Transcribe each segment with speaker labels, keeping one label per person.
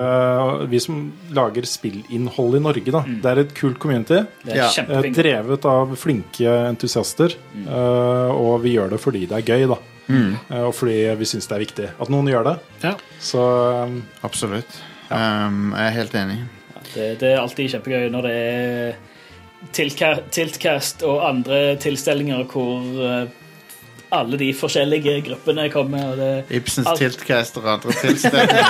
Speaker 1: Eh, vi som lager spillinnhold i Norge, da. Det er et kult community.
Speaker 2: Det er
Speaker 3: Ja.
Speaker 1: eh,
Speaker 2: kjempefint.
Speaker 1: Drevet av flinke entusiaster. eh, og vi gjør det fordi det er gøy, da. Eh, og fordi vi syns det er viktig at noen gjør det.
Speaker 2: Ja.
Speaker 1: Så um,
Speaker 3: Absolutt. Um, jeg er helt enig.
Speaker 2: Det, det er alltid kjempegøy når det er tilca- Tiltcast og andre tilstelninger hvor eh, alle de forskjellige gruppene kommer. Og det,
Speaker 3: Ibsens
Speaker 2: Alt-
Speaker 3: tiltcaster og andre tilstelninger.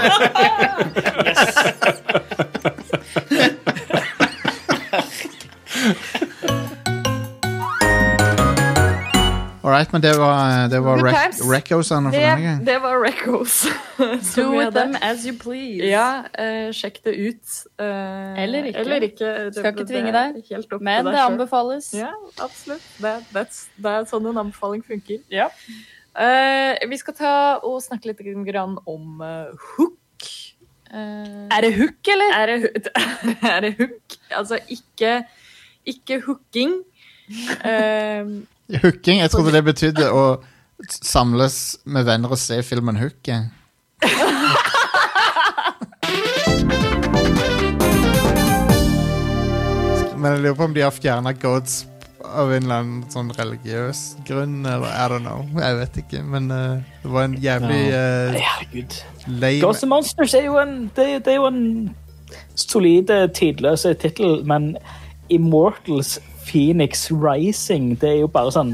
Speaker 3: All right, men det var, eh, det var
Speaker 4: Good
Speaker 3: rec
Speaker 4: times.
Speaker 3: Rekkosene for
Speaker 4: Det,
Speaker 3: denne gang.
Speaker 4: det var Records.
Speaker 5: Do
Speaker 4: som vi
Speaker 5: with
Speaker 4: hadde.
Speaker 5: them as you please.
Speaker 4: Ja, eh, sjekk det ut. eh,
Speaker 5: Eller ikke.
Speaker 4: Eller ikke. Det,
Speaker 5: Skal ikke
Speaker 4: det
Speaker 5: tvinge
Speaker 4: er
Speaker 5: deg,
Speaker 4: helt opp til
Speaker 5: Men
Speaker 4: deg
Speaker 5: det
Speaker 4: selv.
Speaker 5: anbefales.
Speaker 4: Ja, absolutt. Det, that's, det er sånn en anbefaling funker. Eh, vi skal ta og snakke litt grann om eh, hook. Eh,
Speaker 5: Er det hook, eller?
Speaker 4: er det, hu- er det hook? Altså ikke, ikke hooking. Eh,
Speaker 3: Hooking. Jeg trodde det betydde å samles med venner og se filmen Hook. jeg. Men jeg lurer på om de har fjerna gods av en eller annen sånn religiøs grunn. Eller I don't know. Jeg vet ikke. Men eh, det var en jævlig eh,
Speaker 2: herregud.
Speaker 3: lame
Speaker 2: Ghost and Monsters er jo en, det, det er jo en solid, eh, tidløs tittel, men Immortals Phoenix Rising, det er jo bare sånn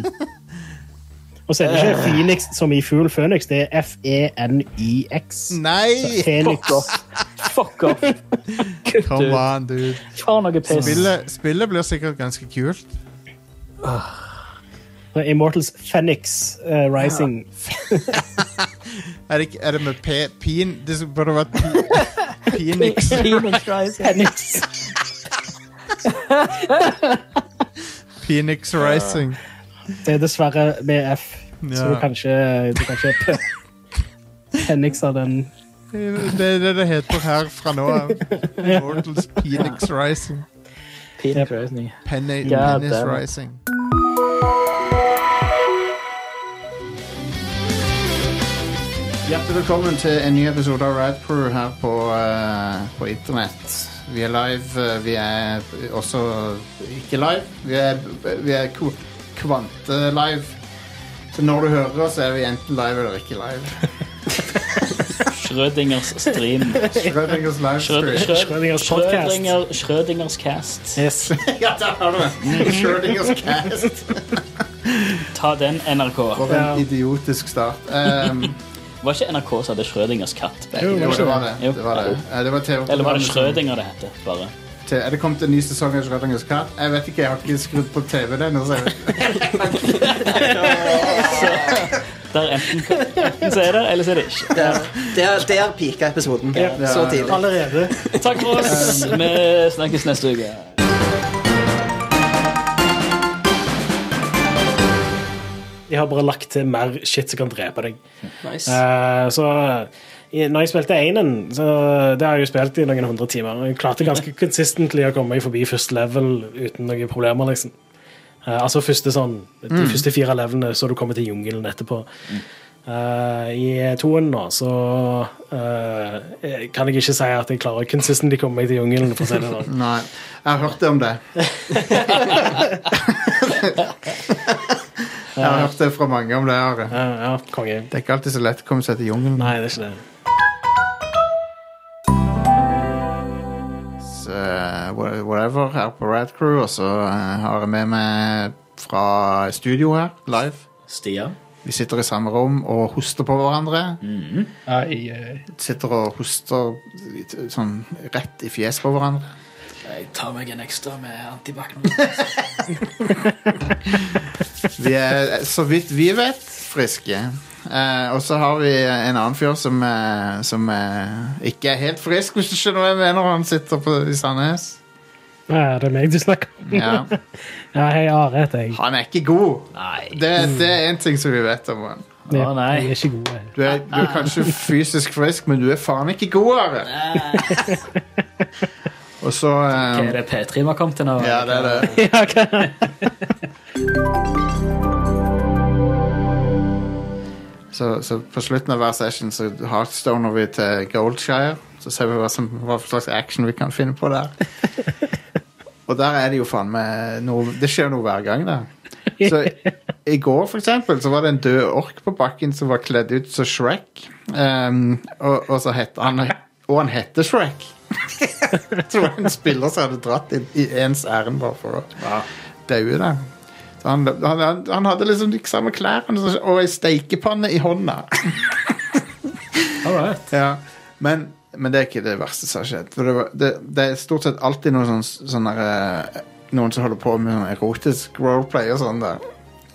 Speaker 6: Og så er det ikke
Speaker 3: Eh.
Speaker 6: Phoenix som i fugl Phoenix, det er E F-E-N-I-X.
Speaker 3: Nei!
Speaker 6: Felix
Speaker 2: Fuck off. Fuck off. Kutt
Speaker 3: Come
Speaker 2: ut.
Speaker 3: on, dude.
Speaker 2: Ta noe piss.
Speaker 3: Spillet, spillet blir sikkert ganske kult.
Speaker 6: og Immortals Phoenix eh, Rising.
Speaker 3: Er det, ikke- er det med P... Pin... Det burde vært pi, Pinix.
Speaker 2: Phoenix Rising.
Speaker 6: Phoenix.
Speaker 2: Ah.
Speaker 3: Phoenix Rising.
Speaker 6: Det er dessverre med F, så
Speaker 3: Ja.
Speaker 6: du kan ikke, du kan ikke Phoenix av den.
Speaker 3: Det er det det heter her fra nå av. Mortals Phoenix Rising.
Speaker 2: Phoenix Rising.
Speaker 3: Penne,
Speaker 2: Ja,
Speaker 3: penis
Speaker 2: damn.
Speaker 3: Rising. Hjertelig velkommen til en ny episode av Rad Crew her på, eh, på internett. Vi er live. eh, vi er også ikke live. Vi er, vi er ko- kvante-live. Så når du hører oss, er vi enten live eller ikke live.
Speaker 2: Schrødingers stream.
Speaker 3: Schrødingers livestream.
Speaker 6: Schrødingers podcast.
Speaker 2: Schrødinger- Schrødingers cast.
Speaker 6: Yes.
Speaker 3: Ja, der har du det! Schrødingers cast.
Speaker 2: Ta den, NRK.
Speaker 3: For en idiotisk start. Um,
Speaker 2: Var ikke NRK som hadde Schrødingers katt?
Speaker 3: jo, det var det.
Speaker 2: Jo.
Speaker 3: det, var det. Eh, det var TV
Speaker 2: Eller var det Schrødinger det het? Bare.
Speaker 3: Te- Er det kommet en ny sesong av Schrødingers katt? Jeg vet ikke, jeg har ikke skrudd på TV den. Så jeg vet.
Speaker 2: Der enten, enten så er det, eller så er det ikke.
Speaker 7: Der, der, der pika episoden. Så tidlig.
Speaker 6: Allerede.
Speaker 2: Takk for oss. Vi snakkes neste uke.
Speaker 6: De har bare lagt til mer shit som kan drepe deg.
Speaker 7: Nice.
Speaker 6: Eh, så i- når jeg spilte Einen, så det har jeg jo spilt i noen hundre timer. og Jeg klarte ganske consistently å komme meg forbi første level uten noen problemer, liksom. Eh, altså første sånn, de første fire levelene, så du kommer til jungelen etterpå. Eh, I toen nå, så eh, kan jeg ikke si at jeg klarer å consistently komme meg til jungelen, for å si det sånn.
Speaker 3: Nei, jeg har hørt det om det. jeg har hørt det fra mange om det. Are.
Speaker 6: Ja, ja, konge.
Speaker 3: Det er ikke alltid så lett å komme seg til jungelen.
Speaker 6: Nei, det er ikke det.
Speaker 3: eh, wha- whatever her på Rad Crew, og så eh, har jeg med meg fra studio her, live.
Speaker 2: Stian.
Speaker 3: Vi sitter i samme rom og hoster på hverandre.
Speaker 8: Ai, ai.
Speaker 3: Sitter og hoster eh, sånn rett i fjes på hverandre.
Speaker 2: Jeg tar meg en ekstra med antibac
Speaker 3: Vi er, eh, så vidt vi vet, friske. Eh, og så har vi en annen fyr som, eh, som eh, ikke er helt frisk, hvis du skjønner hva jeg mener. Han sitter på, i Sandnes.
Speaker 6: Ja, det er meg du snakker om.
Speaker 3: Ja.
Speaker 6: Ja, hei, Are heter jeg.
Speaker 3: Han er ikke god.
Speaker 2: Nei.
Speaker 3: Det, det er én ting som vi vet om han.
Speaker 2: Å, nei.
Speaker 6: Jeg er ikke god. jeg.
Speaker 3: Du er, du er kanskje fysisk frisk, men du er faen ikke god, Are. Og så
Speaker 2: Hva
Speaker 3: eh,
Speaker 2: er det P3 vi har kommet til nå?
Speaker 3: Ja, det er det.
Speaker 6: Ja, hva?
Speaker 3: Så, så på slutten av hver session så heartstoner vi til Goldshire, Så ser vi hva, som, hva for slags action vi kan finne på der. Og der er det jo faen meg noe Det skjer noe hver gang, da. Så i går, for eksempel, så var det en død ork på bakken som var kledd ut som Shrek. Ehm, og, og så het han Og han heter Shrek. Jeg tror en spiller som hadde dratt i, i ens ærend bare for å daue der. Så han, han, han, han hadde liksom de samme klærne som- og ei steikepanne i hånda. Ja, men, men det er ikke det verste som har skjedd. For det, var, det, det er stort sett alltid noen sånn, sånn der, eh, Noen som holder på med sånn erotisk roleplay og sånn der.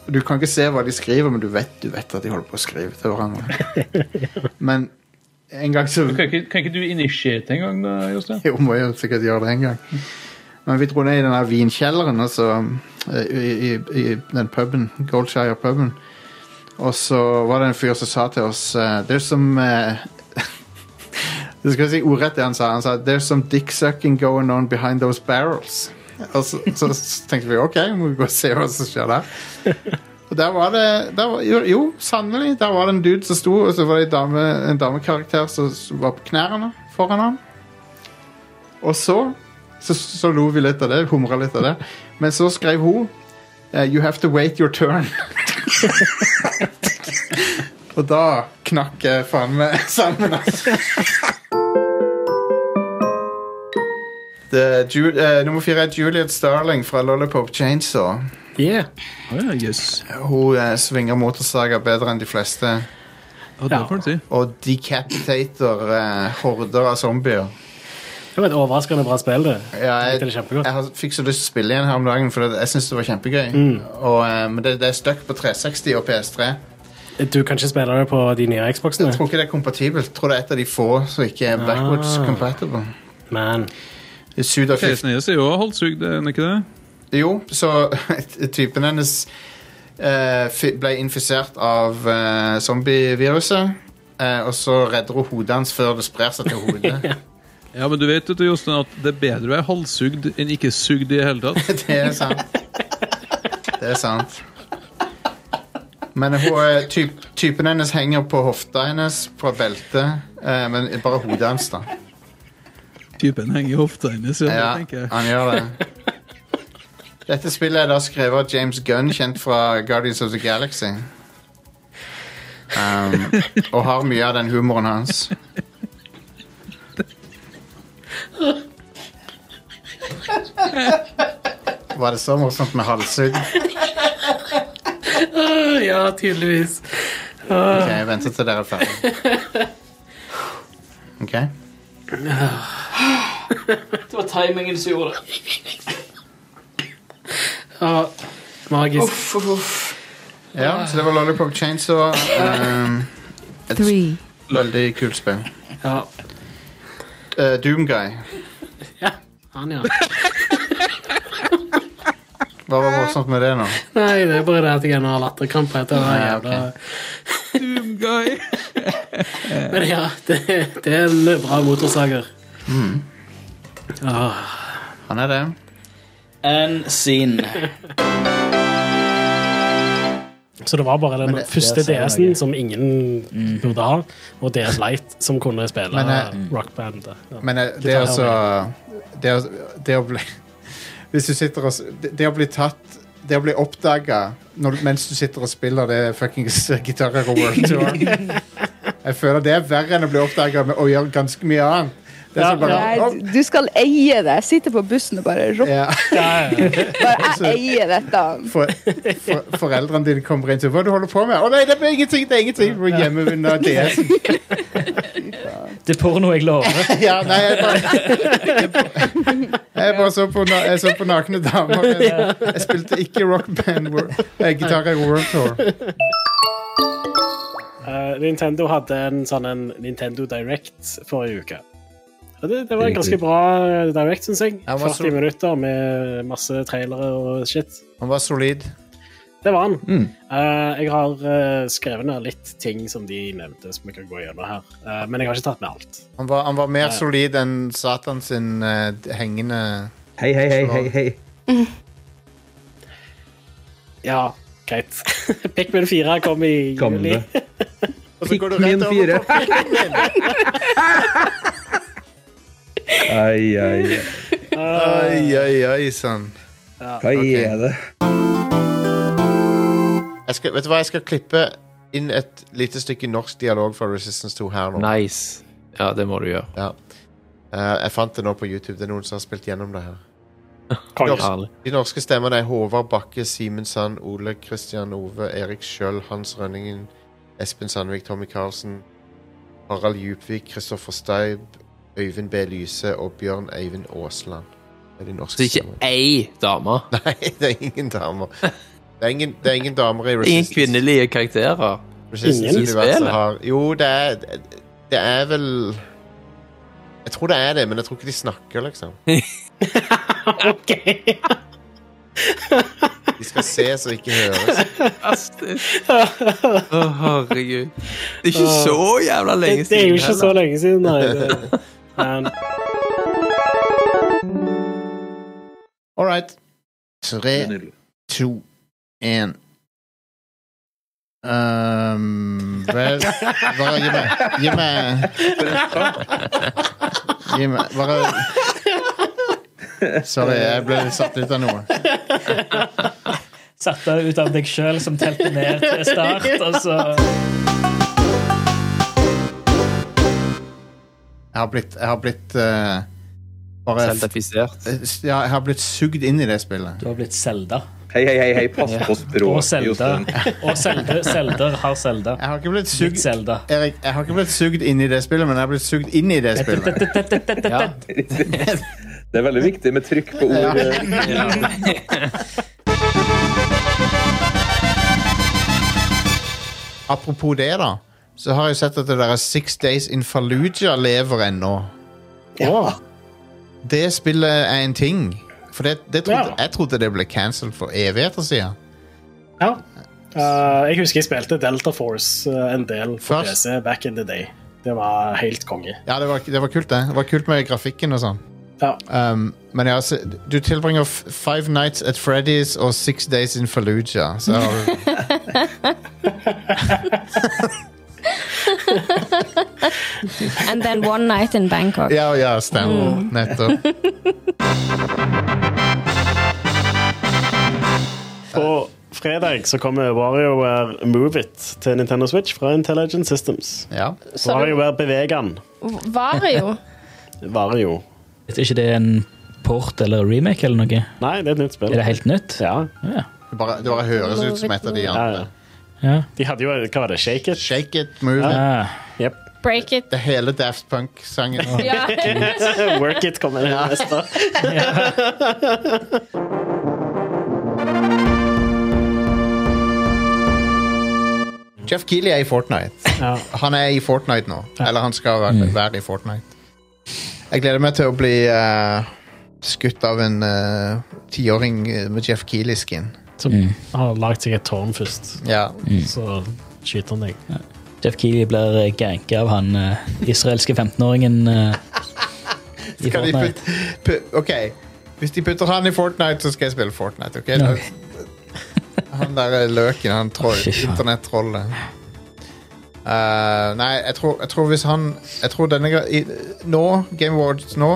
Speaker 3: Du kan ikke se hva de skriver, men du vet, du vet at de holder på å skrive til hverandre. Men en gang så
Speaker 9: Kan ikke, kan ikke du initiate en gang, da, Jostein?
Speaker 3: jo, må jo sikkert gjøre det en gang. Men vi dro ned i den her vinkjelleren, altså, eh, i, i, i den puben, Goldshire-puben. Og så var det en fyr som sa til oss eh, There's some eh, Det skal jeg si ordrett det han sa. Han sa There's some dick-sucking going on behind those barrels. Og så, så tenkte vi OK, må vi gå og se hva som skjer der. Og der var det der var, jo, jo, sannelig. Der var det en dude som sto, og så var det en, dame, en damekarakter som var på knærne foran ham. Og så, så, så lo vi litt av det, humra litt av det. Men så skrev hun eh, You have to wait your turn. Og da knakk jeg faen meg sammen, altså. Det er Ju eh, nummer fire er Juliet Starling fra Lollipop Chainsaw.
Speaker 6: Yeah.
Speaker 9: Ja, yes.
Speaker 3: Hun eh, svinger motorsager bedre enn de fleste.
Speaker 9: ja, det får du si.
Speaker 3: Og decapitator eh, horder av zombier.
Speaker 6: Det var et overraskende bra spill, det.
Speaker 3: Ja, jeg,
Speaker 6: likte det kjempegodt.
Speaker 3: jeg har- fikk så lyst til å spille igjen her om dagen, for jeg syns det var kjempegøy. Og, eh, men det, det er stuck på 360 og PS3.
Speaker 6: Du kan ikke spille det på de nye Xboxene,
Speaker 3: Jeg tror ikke det er kompatibelt. Jeg tror det er et av de få som ikke er backwards compatible.
Speaker 6: men
Speaker 3: Det suger fif-
Speaker 9: PS9 er jo halshugd, er den ikke det?
Speaker 3: Jo, så typen hennes eh, fi- ble infisert av eh, zombieviruset. eh, og så redder hun hodet hans før det sprer seg til hodet.
Speaker 9: Ja, men du vet vet du, Jostein, at det er bedre å være halshugd enn ikke sugd i det hele tatt.
Speaker 3: det er sant. Det er sant. Men hun, er- typ, typen hennes henger på hofta hennes, fra beltet, eh, men bare hodet hans, da.
Speaker 9: Typen henger i hofta hennes, ja,
Speaker 3: Ja,
Speaker 9: tenker jeg.
Speaker 3: han gjør det. Dette spillet er da skrevet av James Gunn, kjent fra Guardians of the Galaxy. Um, og har mye av den humoren hans. Var det så morsomt med halshugg?
Speaker 6: Ja, tydeligvis.
Speaker 3: Ok, jeg venter til dere er ferdige. Ok?
Speaker 10: Det var timingen som gjorde det.
Speaker 6: Ja, magisk.
Speaker 10: Uff, uff, uff.
Speaker 3: Ja, så det var Lollipop Chainsaw. Um, et
Speaker 5: three,
Speaker 3: veldig kult spill.
Speaker 6: Ja,
Speaker 3: Uh, Doomguy.
Speaker 6: han, ja.
Speaker 3: Hva var morsomt med det nå?
Speaker 6: Nei, det er bare det at jeg ennå har latterkrampe etter det
Speaker 3: Nei,
Speaker 6: jævla
Speaker 3: ok.
Speaker 9: Doomguy.
Speaker 6: Men ja, det, det er en bra motorsager.
Speaker 3: Mm.
Speaker 6: Åh,
Speaker 3: Han er det.
Speaker 10: And scene.
Speaker 6: Så det var bare den
Speaker 3: det-
Speaker 6: første
Speaker 11: det sier
Speaker 6: DS-en som ingen burde ha, og DS Light som kunne spille
Speaker 3: Mm. Men, eh,
Speaker 6: rockband rockbandet. Ja.
Speaker 3: Men eh, det er altså det, å- det å bli Hvis du sitter og s- Det det å bli tatt Det å bli oppdaga mens du sitter og spiller det fuckings Guitar Hero World Tour Jeg føler det er verre enn å bli oppdaga med å gjøre ganske mye annet. Det er sånn bare
Speaker 5: Nei,
Speaker 3: «Å,
Speaker 5: du skal eie det. Sitte på bussen og bare rock.
Speaker 3: ja,
Speaker 5: Bare, jeg eier dette.
Speaker 3: for, for, Foreldrene dine kommer inn til Hva er det du holder på med? Å nei, det er ingenting! Det er ingenting! Du må gjemme unna DS-en.
Speaker 2: Det er porno jeg lover.
Speaker 3: Ja, nei, jeg bare Jeg bare så på, na- jeg så på nakne damer. Jeg, jeg spilte ikke Rock Band World, eh, Guitar Hero World Tour.
Speaker 6: Eh, Nintendo hadde en sånn en Nintendo Direct forrige uke. Og det, det var en ganske bra eh, Direct, syns jeg.
Speaker 3: Ja, hva så-
Speaker 6: 40 minutter med masse trailere og shit.
Speaker 3: Han var solid.
Speaker 6: Det var han. Eh, jeg har eh, skrevet ned litt ting som de nevnte, som vi kan gå gjennom her. Eh, men jeg har ikke tatt med alt.
Speaker 3: Han var, han var mer solid enn Satan sin eh, d- hengende
Speaker 11: Hei, hei, hei, hei, hei.
Speaker 6: Ja, greit. Pikmin 4 kom i
Speaker 2: Kom
Speaker 6: juli.
Speaker 2: det.
Speaker 3: Og så går du rett
Speaker 11: Pikmin 4.
Speaker 3: over på Pikmin.
Speaker 12: Ai, ai,
Speaker 3: Oi, oi, oi sann.
Speaker 12: hva er det?
Speaker 13: Jeg skal, vet du hva, jeg skal klippe inn et lite stykke norsk dialog fra Resistance 2 her nå.
Speaker 7: Nice. Ja, det må du gjøre.
Speaker 13: Ja. Eh, jeg fant det nå på YouTube. Det er noen som har spilt gjennom det her.
Speaker 7: Konge.
Speaker 13: Norsk, de norske stemmene er Håvard Bakke, Simen Sand, Ole Kristian Ove, Erik Skjøll, Hans Rønningen, Espen Sandvik, Tommy Karlsen, Harald Djupvik, Kristoffer Steib, Øyvind B. Lyse og Bjørn Eivind Aasland. Det er de
Speaker 7: Så
Speaker 13: norske
Speaker 7: ikke ei dame.
Speaker 13: Nei, det er ingen damer. Det er ingen, det er ingen damer i
Speaker 7: Ingen
Speaker 13: Resistance.
Speaker 7: kvinnelige karakterer.
Speaker 13: Resistance
Speaker 7: I
Speaker 13: universet
Speaker 7: spillet.
Speaker 13: har Jo, det er Det er vel Jeg tror det er det, men jeg tror ikke de snakker, liksom. De skal ses og ikke høres.
Speaker 7: Å, herregud. Det er ikke så jævla lenge
Speaker 6: Det, det er jo
Speaker 7: siden
Speaker 6: ikke så
Speaker 7: heller.
Speaker 6: lenge siden, nei. Det, men,
Speaker 3: All right.
Speaker 13: Det
Speaker 3: Tre,
Speaker 13: er nydelig.
Speaker 3: to, én. Um, vel Bare gi meg Gi meg Gi meg Bare Sorry, jeg ble litt satt ut av noe.
Speaker 2: Satt deg ut av deg sjøl som telte ned til start, og så
Speaker 3: Jeg har blitt, jeg har blitt eh, bare
Speaker 7: Seldafisert.
Speaker 3: Ja, jeg har blitt sugd inn i det spillet.
Speaker 2: Du har blitt Selda.
Speaker 12: Hei, hei, hei, hei, pass på
Speaker 2: Og
Speaker 12: språket,
Speaker 2: Selda.
Speaker 12: Jostein.
Speaker 2: Og Selde, Selder har Selda.
Speaker 3: Jeg har ikke blitt
Speaker 2: sugd
Speaker 3: Erik, jeg har ikke blitt sugd inn i det spillet, men jeg har blitt sugd inn i det spillet.
Speaker 12: Det er veldig viktig med trykk på ordet.
Speaker 3: Apropos det, da, så har jeg sett at det der Six Days in Fallujah lever ennå. Ja. Det spillet er en ting. For det, det trodde, jeg trodde det ble cancelled for evigheter siden.
Speaker 6: ja. Eh, jeg husker jeg spilte Delta Force eh, en del på
Speaker 3: Først.
Speaker 6: PC back in the day. Det var helt konge.
Speaker 3: Ja, det var, det var kult, det. Det var kult med grafikken og sånn.
Speaker 6: Ja.
Speaker 2: Eh,
Speaker 3: Um, men ja, så, du tilbringer f- Five Nights at Freddy's og Six Days in Fallujah. Så
Speaker 14: And then one night in Bangkok.
Speaker 3: Ja, ja, stemmer.
Speaker 14: Mm.
Speaker 3: Nettopp.
Speaker 6: På fredag så kommer WarioWare Move It til Nintendo Switch fra Intelligent Systems.
Speaker 3: Ja.
Speaker 14: Så det-
Speaker 6: WarioWare Bevegan.
Speaker 14: Vario.
Speaker 6: Vario.
Speaker 2: Er ikke det en port eller remake eller noe?
Speaker 6: Nei, det er et nytt spill.
Speaker 2: Er det helt nytt?
Speaker 6: Ja.
Speaker 2: ja.
Speaker 3: Det bare, det bare høres ut som et av de andre.
Speaker 2: Ja.
Speaker 6: De hadde jo Hva var det? Shake It?
Speaker 3: Shake It, Move
Speaker 2: Ja.
Speaker 6: It. Yep.
Speaker 14: Break It.
Speaker 3: Det er hele Daft Punk-sangen.
Speaker 14: Ja.
Speaker 6: Work It kommer inn neste.
Speaker 3: Jeff Keeley er i Fortnite. Han er i Fortnite nå. Eller han skal være, være i Fortnite. Jeg gleder meg til å bli eh, skutt av en eh, tiåring eh, med Jeff Keeley-skin.
Speaker 6: Som
Speaker 2: Mm.
Speaker 6: har lagd seg et tårn først.
Speaker 3: Ja.
Speaker 6: Så skyter han deg.
Speaker 2: Jeff Keeley blir eh, ganka av han eh, israelske 15-åringen. eh, i
Speaker 3: Skal de
Speaker 2: Fortnite.
Speaker 3: putte, pu- ok, hvis de putter han i Fortnite, så skal jeg spille Fortnite. ok?
Speaker 2: Ja.
Speaker 3: Han der løken, han troll, internettrollet. Eh, nei, jeg tror, jeg tror hvis han Jeg tror denne ga- i, Nå, Game Awards nå,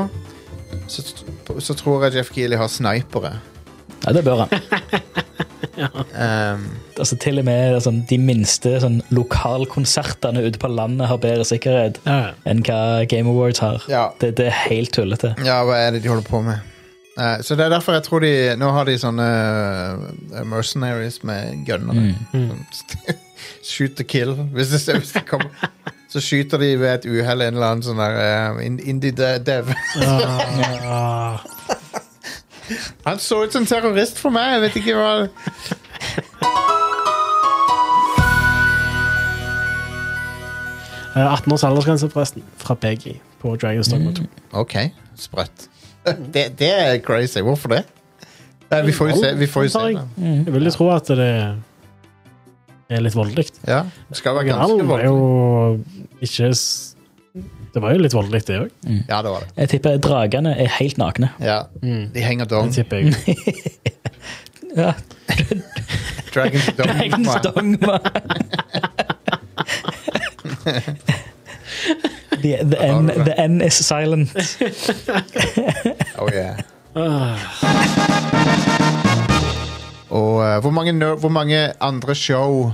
Speaker 3: så, så tror jeg Jeff Keeley har snipere.
Speaker 2: Ja, det bør han.
Speaker 3: Um,
Speaker 2: Altså, til og med sånn, de minste sånn, lokalkonsertene ute på landet har bedre sikkerhet enn hva Game Awards har. Det, det er helt tullete.
Speaker 3: Ja, hva er det de holder på med? Eh, så det er derfor jeg tror de Nå har de sånne eh, mercenaries med gunnere. Som- Shoot to kill. Hvis det, hvis det kommer Så skyter de ved et uhell en eller annen sånn der eh, in- indie de- dev.
Speaker 6: Ah.
Speaker 3: Han så ut som en terrorist for meg, jeg vet ikke hva
Speaker 6: Eh, 18 års aldersgrense, forresten. Fra Peggy på Dragon's
Speaker 2: Mm.
Speaker 6: Dogma 2.
Speaker 3: Ok, sprøtt. Det, det er crazy. Hvorfor det? Nei, vi får jo se. Vi får jo se da.
Speaker 6: Jeg vil jo tro at det er litt voldelig.
Speaker 3: Ja, det skal være ganske
Speaker 6: Originalen var
Speaker 3: voldelig.
Speaker 6: jo ikke s- Det var jo litt voldelig, det òg.
Speaker 3: Ja, det var det.
Speaker 2: Jeg tipper dragene er helt nakne.
Speaker 3: Ja, De henger dong.
Speaker 6: Det tipper jeg.
Speaker 2: Ja.
Speaker 3: Dragon's Dogma.
Speaker 2: Dragon's Dogma. The, the, N, the N is silent.
Speaker 3: Oh, yeah. Og eh, hvor, mange ner- hvor mange andre show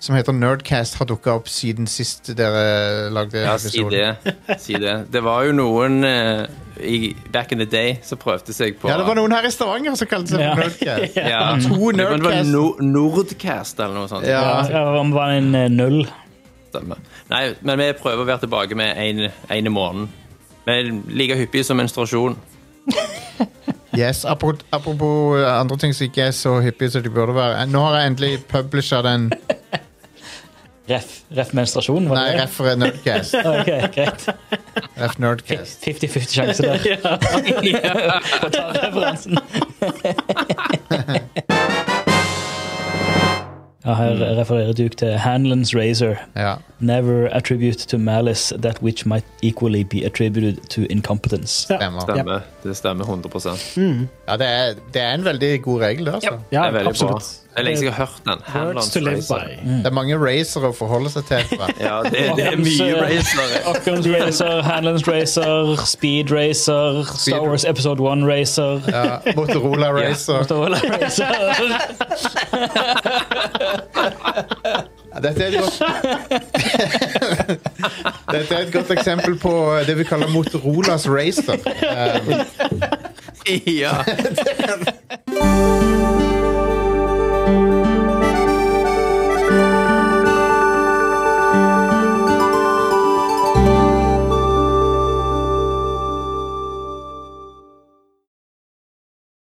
Speaker 3: som heter Nerdcast, har dukka opp siden sist dere lagde
Speaker 7: Ja, si
Speaker 3: episoden?
Speaker 7: det. Si det. Det var jo noen eh, i, back in the day som prøvde seg på
Speaker 3: Ja, det var noen her i Stavanger som kalte seg
Speaker 7: Ja.
Speaker 3: Nerdcast.
Speaker 7: Ja.
Speaker 3: Det var To
Speaker 7: Men Det var
Speaker 3: Nerdcast.
Speaker 7: no, Nordcast eller noe sånt.
Speaker 2: Ja, Om det var en eh, null.
Speaker 7: Stemmer. Nei, men vi prøver å være tilbake med en, en i måneden. Men like hyppig som menstruasjon.
Speaker 3: Yes, apropos, apropos eh, andre ting som ikke er så hyppige som de burde være. Nå har jeg endelig publisha den.
Speaker 2: Ref, ref menstruasjon? var det
Speaker 3: Nei,
Speaker 2: det?
Speaker 3: ref er Nerdcast.
Speaker 2: ok, greit.
Speaker 3: Ref Nerdcast.
Speaker 2: 50-50 sjanse der. Å ta referansen. Ja, her refererer Duke til Hanlon's razor. Never attribute to malice that which might equally be attributed to incompetence.
Speaker 7: Stemmer. Det stemmer 100
Speaker 3: Ja, det er, det er en veldig god regel, det. Altså.
Speaker 7: Det er veldig bra. Det er lenge siden jeg har hørt den. Hanlon's Razor.
Speaker 3: Det er mange racere å forholde seg til. tror jeg.
Speaker 7: Ja, det, det er mye racere.
Speaker 2: Occam's Racer, Hanlon's Racer, Speed Racer, Star Wars Episode 1 Racer.
Speaker 3: Ja, Motorola Racer.
Speaker 2: Ja, Motorola Racer.
Speaker 3: Ja, Dette er, et godt... Dette er et godt eksempel på det vi kaller Motorolas racer. Um,
Speaker 7: Ja.